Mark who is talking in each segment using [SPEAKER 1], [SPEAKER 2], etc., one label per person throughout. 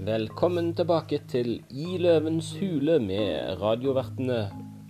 [SPEAKER 1] Velkommen tilbake til I løvens hule med radiovertene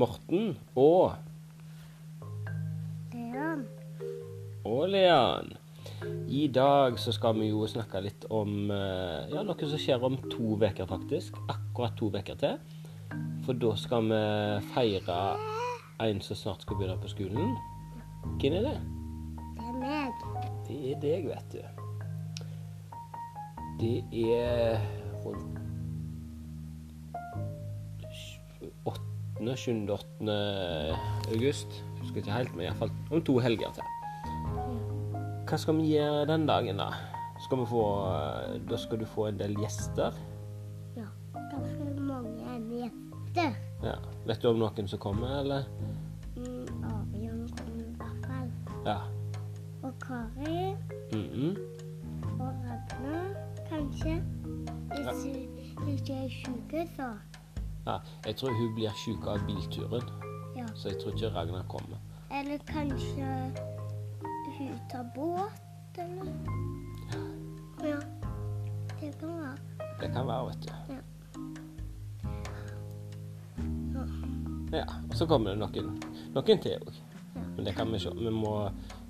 [SPEAKER 1] Morten og,
[SPEAKER 2] Leon.
[SPEAKER 1] og Leon. I dag så skal vi jo snakke litt om eh, ja, noe som skjer om to uker, faktisk. Akkurat to uker til. For da skal vi feire en som snart skal begynne på skolen. Hvem er det?
[SPEAKER 2] Det er meg.
[SPEAKER 1] Det er deg, vet du. Det er rundt 8., 7., 8. august. Husker ikke helt, men iallfall om to helger til. Hva skal vi gjøre den dagen, da? Skal vi få, da skal du få en del gjester.
[SPEAKER 2] Ja. Ganske mange meter.
[SPEAKER 1] Ja. Vet du om noen som kommer, eller?
[SPEAKER 2] Mm, Arion kommer i hvert fall.
[SPEAKER 1] Ja.
[SPEAKER 2] Og Kari
[SPEAKER 1] Mm -mm.
[SPEAKER 2] og Ragna, kanskje. Hvis hun ikke er syk, så
[SPEAKER 1] ja. Jeg tror hun blir sjuk av bilturen,
[SPEAKER 2] ja.
[SPEAKER 1] så jeg tror ikke Ragnar kommer.
[SPEAKER 2] Eller kanskje hun tar båt, eller Ja. Det kan være.
[SPEAKER 1] Det kan være, vet du.
[SPEAKER 2] Ja.
[SPEAKER 1] Ja, og så kommer det noen, noen til òg.
[SPEAKER 2] Ja.
[SPEAKER 1] Men det kan vi se. Vi må,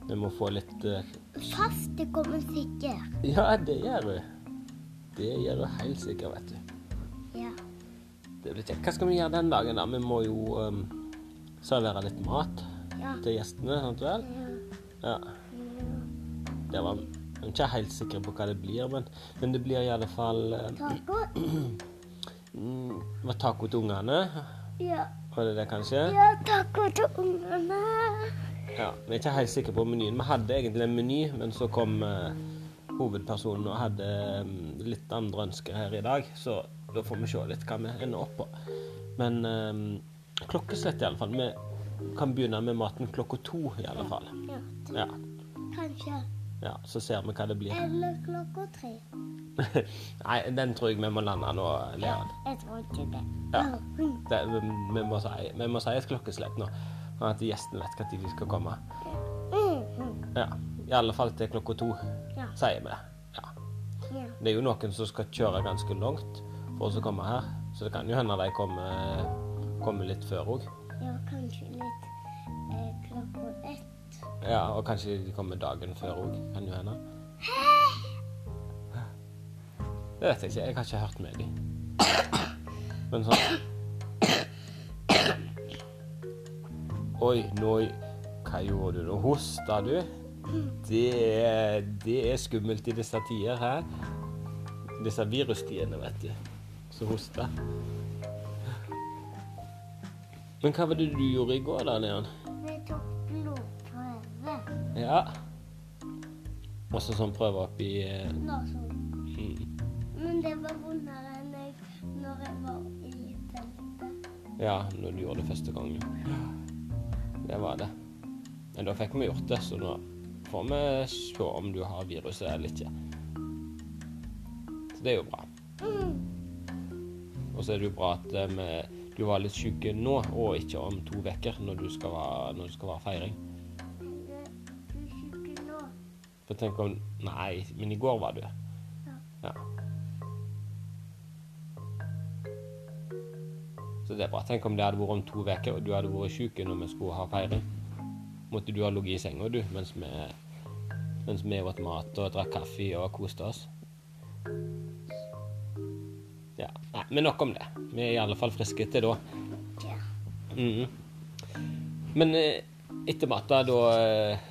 [SPEAKER 1] vi må få litt eh,
[SPEAKER 2] Fast det kommer sikkert.
[SPEAKER 1] Ja, det gjør du. Det gjør du helt sikkert, vet du.
[SPEAKER 2] Ja.
[SPEAKER 1] Det blir kjekt. Hva skal vi gjøre den dagen, da? Vi må jo eh, servere litt mat
[SPEAKER 2] Ja.
[SPEAKER 1] til gjestene, sant vel?
[SPEAKER 2] Ja.
[SPEAKER 1] Ja.
[SPEAKER 2] ja.
[SPEAKER 1] Det var jeg er ikke helt sikker på hva det blir, men, men det blir i alle fall eh,
[SPEAKER 2] Taco?
[SPEAKER 1] mm, det var taco til ungene.
[SPEAKER 2] Ja.
[SPEAKER 1] Var det det, kanskje?
[SPEAKER 2] Ja, taco til ungene.
[SPEAKER 1] Ja, Vi er ikke helt sikre på menyen. Vi hadde egentlig en meny, men så kom eh, hovedpersonen og hadde mm, litt andre ønsker her i dag, så da får vi se litt hva vi ender opp på. Men eh, klokkeslett, i alle fall. Vi kan begynne med maten klokka to, i alle fall.
[SPEAKER 2] Ja,
[SPEAKER 1] Ja,
[SPEAKER 2] kanskje.
[SPEAKER 1] ja Så ser vi hva det blir.
[SPEAKER 2] Eller klokka tre.
[SPEAKER 1] Nei, den tror jeg vi må lande nå, Leon.
[SPEAKER 2] Jeg tror ikke det.
[SPEAKER 1] Ja.
[SPEAKER 2] Mm,
[SPEAKER 1] Det, vi, vi, må si, vi må si et klokkeslett nå, sånn at gjestene vet når de skal komme.
[SPEAKER 2] mm,
[SPEAKER 1] Ja, I alle fall til klokka to,
[SPEAKER 2] Ja.
[SPEAKER 1] sier vi. Ja.
[SPEAKER 2] ja.
[SPEAKER 1] Det er jo noen som skal kjøre ganske langt for oss å komme her, så det kan jo hende de kommer, kommer litt før òg.
[SPEAKER 2] ja, kanskje litt eh, klokka ett.
[SPEAKER 1] Ja, og kanskje de kommer dagen før òg. Kan jo hende. Det vet jeg ikke. Jeg har ikke hørt med dem. Men sånn Oi, nå Hva gjorde du nå? Hosta du? Det er, det er skummelt i disse tider her. Disse virustidene, vet du. Som hoster. Men hva var det du gjorde i går, da, Leon?
[SPEAKER 2] Vi tok blodprøve.
[SPEAKER 1] Ja. Også sånn prøve opp i eh,
[SPEAKER 2] Nå så.
[SPEAKER 1] mm,
[SPEAKER 2] Men det var vondere enn jeg når jeg var i teltet.
[SPEAKER 1] Ja, når du gjorde det første gangen. Det var det. Men da fikk vi gjort det, så nå får vi se om du har viruset eller ikke. Så det er jo bra.
[SPEAKER 2] Mm,
[SPEAKER 1] Og så er det jo bra at eh, vi, du var litt syk nå, og ikke om to uker når du skal være, når du skal være feiring.
[SPEAKER 2] jeg blir syk nå.
[SPEAKER 1] For tenk om Nei, men i går var du. Ja. Så det er bra. Tenk om det hadde vært om to uker, og du hadde vært syk når vi skulle ha feiring. Måtte du ha ligget i senga, du, mens vi mens vi åt mat og drakk kaffe og koste oss. Ja. Nei, men nok om det. Vi er i alle fall friske til da.
[SPEAKER 2] Ja.
[SPEAKER 1] Mhm. Men eh, etter mat, da, da eh,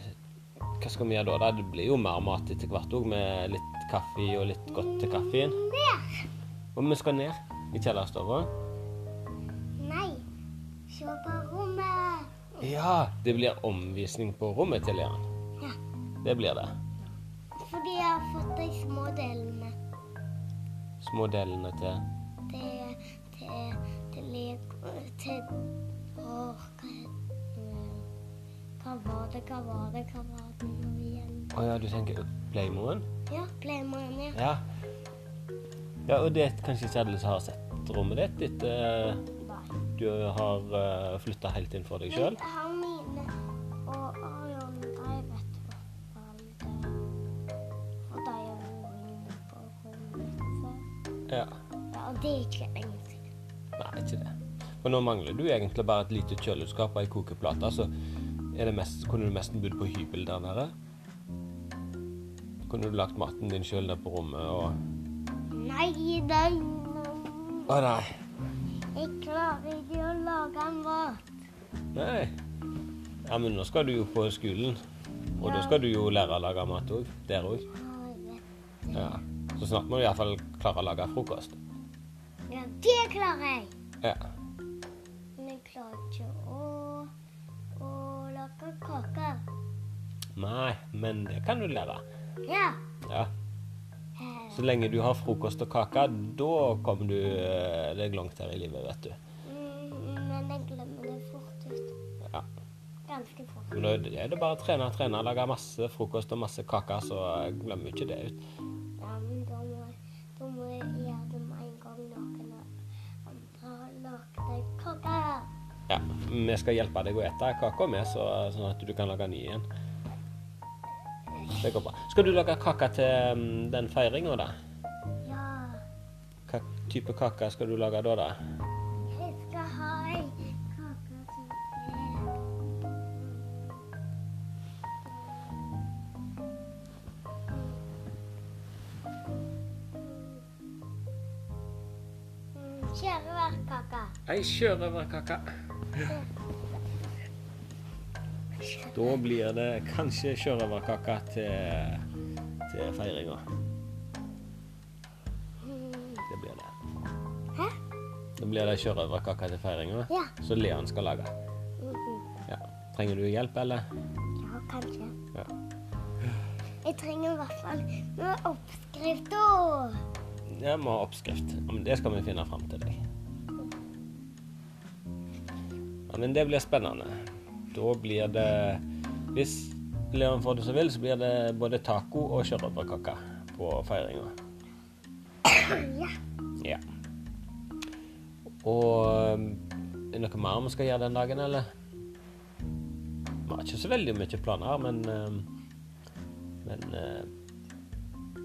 [SPEAKER 1] Hva skal vi gjøre da? da? Det blir jo mer mat etter hvert òg, med litt kaffe og litt godt til kaffen. Og vi skal ned i kjellerstua.
[SPEAKER 2] Nei, se på rommet.
[SPEAKER 1] Ja, det blir omvisning på rommet til Leon.
[SPEAKER 2] Ja.
[SPEAKER 1] Det blir det.
[SPEAKER 2] Fordi jeg har fått de små delene.
[SPEAKER 1] Små delene til
[SPEAKER 2] til, til, til, lik- til Åh, hva heter det? Hva var det, hva var det, hva var det nå igjen?
[SPEAKER 1] Å ja, du tenker Playmoen?
[SPEAKER 2] Ja, Playmoren, ja.
[SPEAKER 1] Ja. ja. Og det er kanskje ikke alle som har sett rommet ditt etter eh,
[SPEAKER 2] Nei.
[SPEAKER 1] du har uh, flytta helt inn for deg sjøl?
[SPEAKER 2] Men han mine og Arion, de vet du hva de er. Og de har vært inne på rommet før.
[SPEAKER 1] Ja.
[SPEAKER 2] Ja, og det er ikke lenge siden.
[SPEAKER 1] Nei, ikke det. For nå mangler du egentlig bare et lite kjøleskap og ei kokeplate, så er det mest, kunne du nesten bodd på hybel der nede. Kunne du lagt maten din sjøl der på rommet og
[SPEAKER 2] Nei, nei, nei.
[SPEAKER 1] Å nei.
[SPEAKER 2] Jeg klarer ikke å lage mat.
[SPEAKER 1] Nei. Ja, men nå skal du jo på skolen, og da skal du jo lære å lage mat òg. Der òg.
[SPEAKER 2] Ja, jeg vet.
[SPEAKER 1] Ja. Så snart må du iallfall klare å lage frokost.
[SPEAKER 2] Ja, det klarer jeg.
[SPEAKER 1] Ja.
[SPEAKER 2] Men jeg klarer ikke å, å lage kaker.
[SPEAKER 1] Nei, men det kan du lære.
[SPEAKER 2] Ja.
[SPEAKER 1] Ja.
[SPEAKER 2] Eh,
[SPEAKER 1] Så lenge du har frokost og kake, da kommer du eh, deg langt her i livet, vet du.
[SPEAKER 2] mm, men jeg glemmer det fort ut.
[SPEAKER 1] Ja.
[SPEAKER 2] Ganske fort.
[SPEAKER 1] Men da er det bare å trene, trene, lage masse frokost og masse kake, så glemmer ikke det ut.
[SPEAKER 2] Ja, men da må, jeg- da må jeg gjøre det med en gang noen andre har lagd kaker.
[SPEAKER 1] Ja, Vi skal hjelpe deg å ete kaka med, så, sånn at du kan lage ny igjen. Det går bra. Skal du lage kake til mm, den feiringa, da?
[SPEAKER 2] Ja.
[SPEAKER 1] Hva type kake skal du lage da, da?
[SPEAKER 2] Jeg skal ha ei kake som er Mm, Kjæreværkake.
[SPEAKER 1] Ei sjørøverkake. Da blir det kanskje sjørøverkake til, til feiringa.
[SPEAKER 2] Mm,
[SPEAKER 1] Det blir det.
[SPEAKER 2] Hæ?
[SPEAKER 1] Da blir det sjørøverkake til feiringa,
[SPEAKER 2] Ja.
[SPEAKER 1] så Leon skal lage.
[SPEAKER 2] mhm.
[SPEAKER 1] Ja. Trenger du hjelp, eller?
[SPEAKER 2] Ja, kanskje.
[SPEAKER 1] Ja.
[SPEAKER 2] Jeg trenger i hvert fall noen oppskrifter.
[SPEAKER 1] Jeg må ha oppskrift. Ja, Men det skal vi finne fram til deg. Ja, men det blir spennende. Da blir det Hvis Leon får det som vil, så blir det både taco og sjørøverkake på feiringa.
[SPEAKER 2] Ja.
[SPEAKER 1] Ja. Og um, er det noe mer vi skal gjøre den dagen, eller? Vi har ikke så veldig mye planer, men um, Men uh,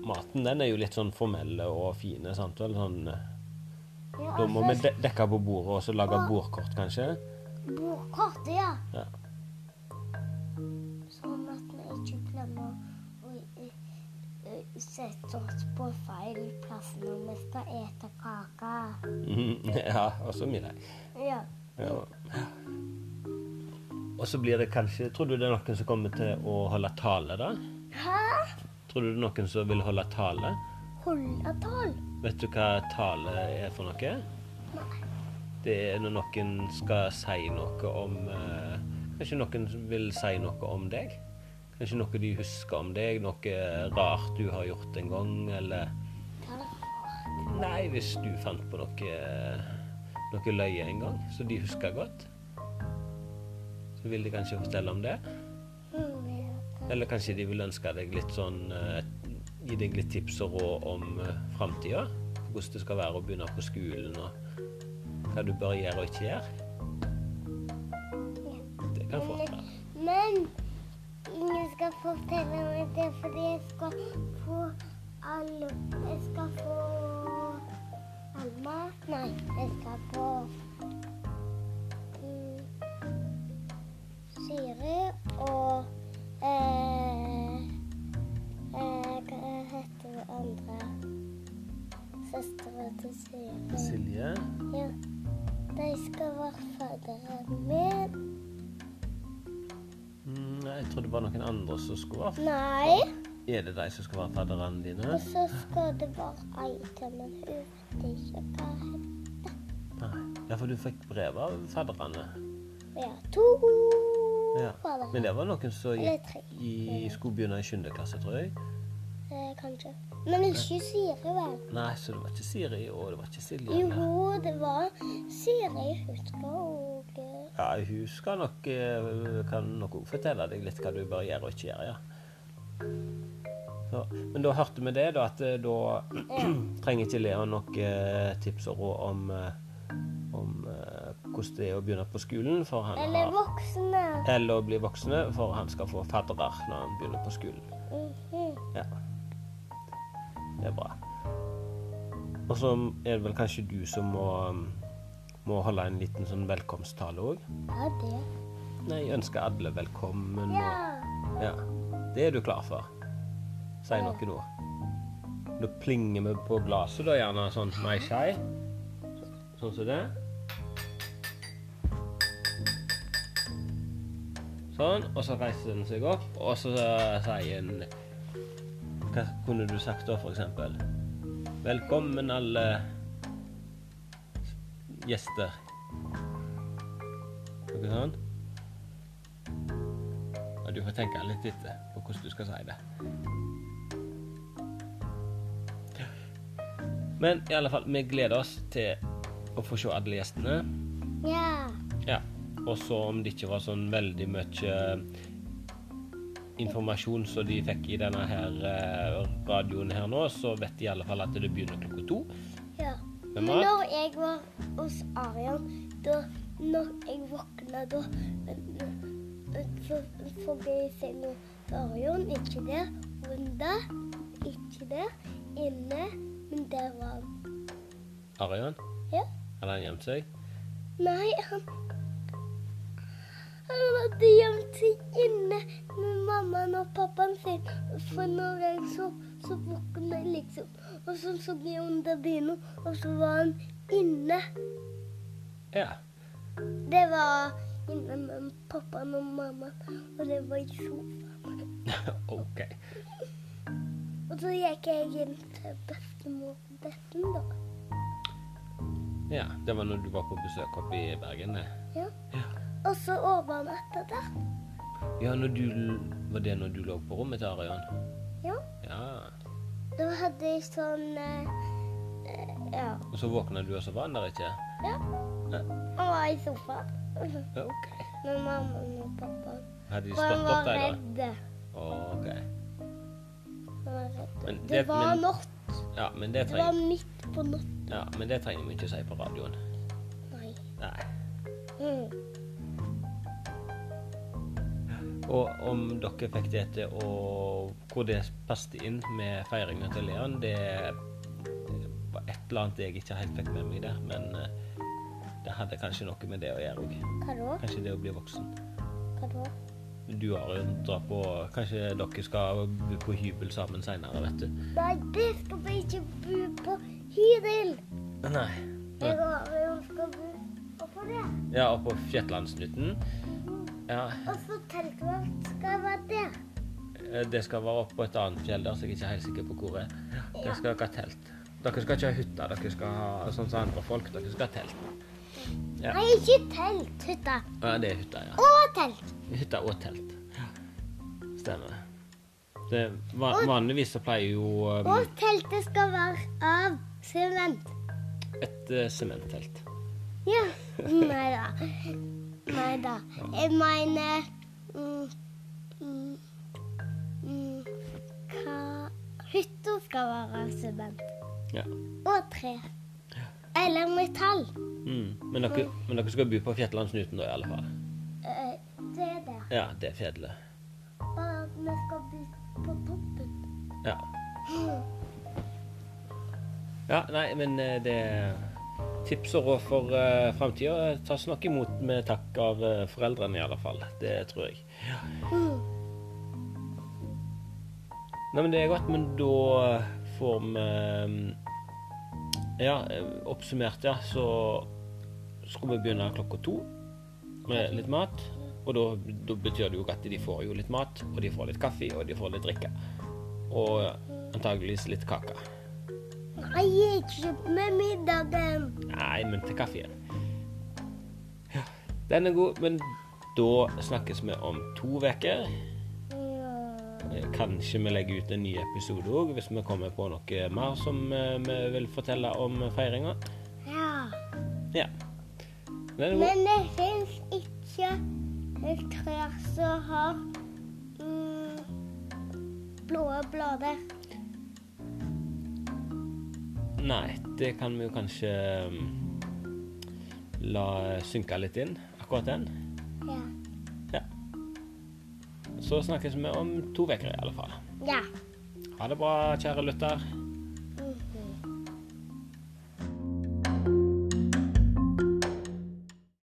[SPEAKER 1] maten, den er jo litt sånn formell og fine, sant vel? Sånn, uh,
[SPEAKER 2] Ja,
[SPEAKER 1] da må vi
[SPEAKER 2] først
[SPEAKER 1] de dekke på bordet og så lage bordkort, kanskje?
[SPEAKER 2] Bordkortet, ja.
[SPEAKER 1] Ja.
[SPEAKER 2] Sånn at vi ikke glemmer å eh, eh, sette oss på feil plass når vi skal ete kake.
[SPEAKER 1] Mhm, ja, og så middag.
[SPEAKER 2] Ja.
[SPEAKER 1] Ja. Og så blir det kanskje Tror du det er noen som kommer til å holde tale, da?
[SPEAKER 2] Hæ?
[SPEAKER 1] Tror du det er noen som vil holde tale?
[SPEAKER 2] Holdatall?
[SPEAKER 1] Vet du hva tale er for noe?
[SPEAKER 2] Nei.
[SPEAKER 1] Det er når noen skal si noe om eh, Kanskje noen vil si noe om deg? Kanskje noe de husker om deg? Noe rart du har gjort en gang, eller
[SPEAKER 2] Hva?
[SPEAKER 1] Nei, hvis du fant på noe noe løye en gang som de husker godt, så vil de kanskje fortelle om det.
[SPEAKER 2] Mm, ja, hva?
[SPEAKER 1] Eller kanskje de vil ønske deg litt sånn eh, Gi deg litt tips og råd om uh, framtida. Hvordan det skal være å begynne på skolen, og hva du bør gjøre og ikke gjøre.
[SPEAKER 2] Ja.
[SPEAKER 1] Det kan fort være.
[SPEAKER 2] Men ingen skal fortelle meg det, fordi jeg skal få alle Jeg skal få Alma? Nei, jeg skal få mm, Siri og eh, eh, Hva heter det andre? Søstera til Siri.
[SPEAKER 1] Silje?
[SPEAKER 2] Ja. De skal være faderen min.
[SPEAKER 1] Mm, nei, jeg trodde det var noen andre som skulle være
[SPEAKER 2] Nei.
[SPEAKER 1] Er det de som skal være fadderne dine?
[SPEAKER 2] Og så skal det være ei til, men hun vet ikke hva hun
[SPEAKER 1] Nei. Ja, for du fikk brev av fadderne.
[SPEAKER 2] Vi har to
[SPEAKER 1] Ja.
[SPEAKER 2] faddere.
[SPEAKER 1] Men det var noen som
[SPEAKER 2] Eller
[SPEAKER 1] gikk
[SPEAKER 2] tre,
[SPEAKER 1] i, skulle begynne i 7. klasse, tror jeg.
[SPEAKER 2] eh, kanskje. Men ikke Siri, vel?
[SPEAKER 1] Nei, så det var ikke Siri, og det var ikke Silje.
[SPEAKER 2] Jo,
[SPEAKER 1] eller?
[SPEAKER 2] det var Siri, husker og eh,
[SPEAKER 1] Ja, hun skal nok eh, kan nok også fortelle deg litt hva du bør gjøre og ikke gjøre, ja. Så, men da hørte vi det, da, at eh, da trenger ikke Leon nok eh, tips og råd om, eh, om eh, hvordan det er å begynne på skolen, for han
[SPEAKER 2] Eller
[SPEAKER 1] har
[SPEAKER 2] voksne.
[SPEAKER 1] Eller å bli voksne, for han skal få faddere når han begynner på skolen.
[SPEAKER 2] Mhm.
[SPEAKER 1] Ja. Det er bra. Og så er det vel kanskje du som må, må holde en liten sånn velkomsttale òg.
[SPEAKER 2] Ja, det.
[SPEAKER 1] Nei, jeg ønsker alle velkommen
[SPEAKER 2] Ja.
[SPEAKER 1] og Ja. Det er du klar for. Si noe nå. Da plinger vi på glasset, da, gjerne sånn Mai Shai. Sånn som det. Sånn. Og så reiser den seg opp, og så sier en Hva kunne du sagt da, for eksempel? Velkommen, alle gjester. Noe sånn? Og du får tenke litt etter på hvordan du skal si det. Men i alle fall, vi gleder oss til å få se alle gjestene.
[SPEAKER 2] Ja.
[SPEAKER 1] Ja. Og så om det ikke var sånn veldig mye eh, informasjon som de fikk i denne her eh, radioen her nå, så vet de i alle fall at det begynner klokka to.
[SPEAKER 2] ja.
[SPEAKER 1] Med
[SPEAKER 2] Men
[SPEAKER 1] mat?
[SPEAKER 2] når jeg var hos Arian, da når jeg våkna da så, så ble jeg i senga til Arian. Ikke der. Under. Ikke der. Inne. Men der var han.
[SPEAKER 1] Arian,
[SPEAKER 2] Ja.
[SPEAKER 1] hadde han gjemt seg?
[SPEAKER 2] Nei, han Han hadde gjemt seg inne med mammaen og pappaen sin. For når jeg sov, så våkna jeg liksom. Og så så jeg under dyna, og så var han inne.
[SPEAKER 1] Ja.
[SPEAKER 2] Det var inne med pappaen og mammaen, og det var i sofaen.
[SPEAKER 1] OK.
[SPEAKER 2] Og så gikk jeg inn til bestemor og besten, da.
[SPEAKER 1] Ja, Det var når du var på besøk oppe i Bergen, det.
[SPEAKER 2] Ja.
[SPEAKER 1] Ja.
[SPEAKER 2] Og så overnatta der.
[SPEAKER 1] Ja, når du, var det når du lå på rommet til Arian?
[SPEAKER 2] Ja.
[SPEAKER 1] Ja.
[SPEAKER 2] Da hadde jeg sånn eh, eh, Ja.
[SPEAKER 1] Og så våkna du, og så var han der ikke?
[SPEAKER 2] Ja.
[SPEAKER 1] Ja.
[SPEAKER 2] Han var i sofaen
[SPEAKER 1] Ja, OK.
[SPEAKER 2] med mammaen og pappaen.
[SPEAKER 1] Hadde de
[SPEAKER 2] For han
[SPEAKER 1] stått opp
[SPEAKER 2] var
[SPEAKER 1] deg, da?
[SPEAKER 2] redde.
[SPEAKER 1] Å, OK.
[SPEAKER 2] Han var redd.
[SPEAKER 1] Men
[SPEAKER 2] Det
[SPEAKER 1] det-
[SPEAKER 2] var
[SPEAKER 1] men-
[SPEAKER 2] natt.
[SPEAKER 1] Ja, men det
[SPEAKER 2] Det var
[SPEAKER 1] trenger
[SPEAKER 2] midt på natta.
[SPEAKER 1] ja, men det trenger vi ikke å si på radioen. Nei.
[SPEAKER 2] Mm.
[SPEAKER 1] Og om dere fikk det til å Hvor det passet inn med feiringen til Leon, det var et eller annet jeg ikke helt fikk med meg der, men eh, det hadde kanskje noe med det å gjøre òg.
[SPEAKER 2] Hva da?
[SPEAKER 1] Kanskje det å bli voksen.
[SPEAKER 2] Hva da?
[SPEAKER 1] Du Arion, drar på Kanskje dere skal bo på hybel sammen seinere, vet du.
[SPEAKER 2] Nei, det skal vi ikke bo på Hyril.
[SPEAKER 1] Nei.
[SPEAKER 2] Jeg og Arion skal bo Mm. oppå der.
[SPEAKER 1] Ja, og på Fjellandsnytten. Ja,
[SPEAKER 2] Og så teltet vårt skal være der.
[SPEAKER 1] eh, det skal være oppe på et annet fjell der, så jeg er ikke helt sikker på hvor det er. Dere skal ikke ha telt. Dere skal ikke ha hytte, dere skal ha sånn som andre folk. Dere skal ha telt. Ja.
[SPEAKER 2] Nei, ikke telt. Hytta.
[SPEAKER 1] Ja, det er hytta, ja.
[SPEAKER 2] Og telt.
[SPEAKER 1] Hytte og telt. Stemmer det. det va- vanligvis så pleier jo eh,
[SPEAKER 2] Og teltet skal være av sement.
[SPEAKER 1] et eh, sementtelt.
[SPEAKER 2] Ja. Nei da. Nei da. Jeg mener mm, mm, mm, Hva Hytta skal være av sement.
[SPEAKER 1] Ja.
[SPEAKER 2] Og tre. Eller metall.
[SPEAKER 1] Mm. Men, dere, men dere skal bo på Fjellandsnytten da, i alle fall.
[SPEAKER 2] Eh, Det er det.
[SPEAKER 1] Ja, det er fjellet.
[SPEAKER 2] Bare at vi skal bo på toppen.
[SPEAKER 1] Ja. Ja, nei, men eh, det er Tips og råd for uh, framtida tas nok imot med takk av eh, foreldrene, i alle fall. Det tror jeg.
[SPEAKER 2] Mm.
[SPEAKER 1] Nei, men det er godt, men da får vi eh, Ja, eh, oppsummert, ja, så skulle vi begynne klokka to med litt mat. Og da, da betyr det jo at de får jo litt mat, og de får litt kaffe, og de får litt drikke. Og antageligvis litt kake.
[SPEAKER 2] Nei, ikke med middagen.
[SPEAKER 1] Nei, men til kaffen. Ja, den er god, men da snakkes vi om to uker.
[SPEAKER 2] Ja.
[SPEAKER 1] Eh, Kanskje vi legger ut en ny episode òg, hvis vi kommer på noe mer som eh, vi vil fortelle om feiringa.
[SPEAKER 2] ja.
[SPEAKER 1] Ja. Den er god.
[SPEAKER 2] Men det fins ikke et trær som har mm, blå blader.
[SPEAKER 1] Nei, det kan vi jo kanskje mm, la synke litt inn, akkurat den.
[SPEAKER 2] Ja.
[SPEAKER 1] Ja. Så snakkes vi om to uker, i alle fall.
[SPEAKER 2] ja.
[SPEAKER 1] Ha det bra, kjære lytter.
[SPEAKER 2] Mhm.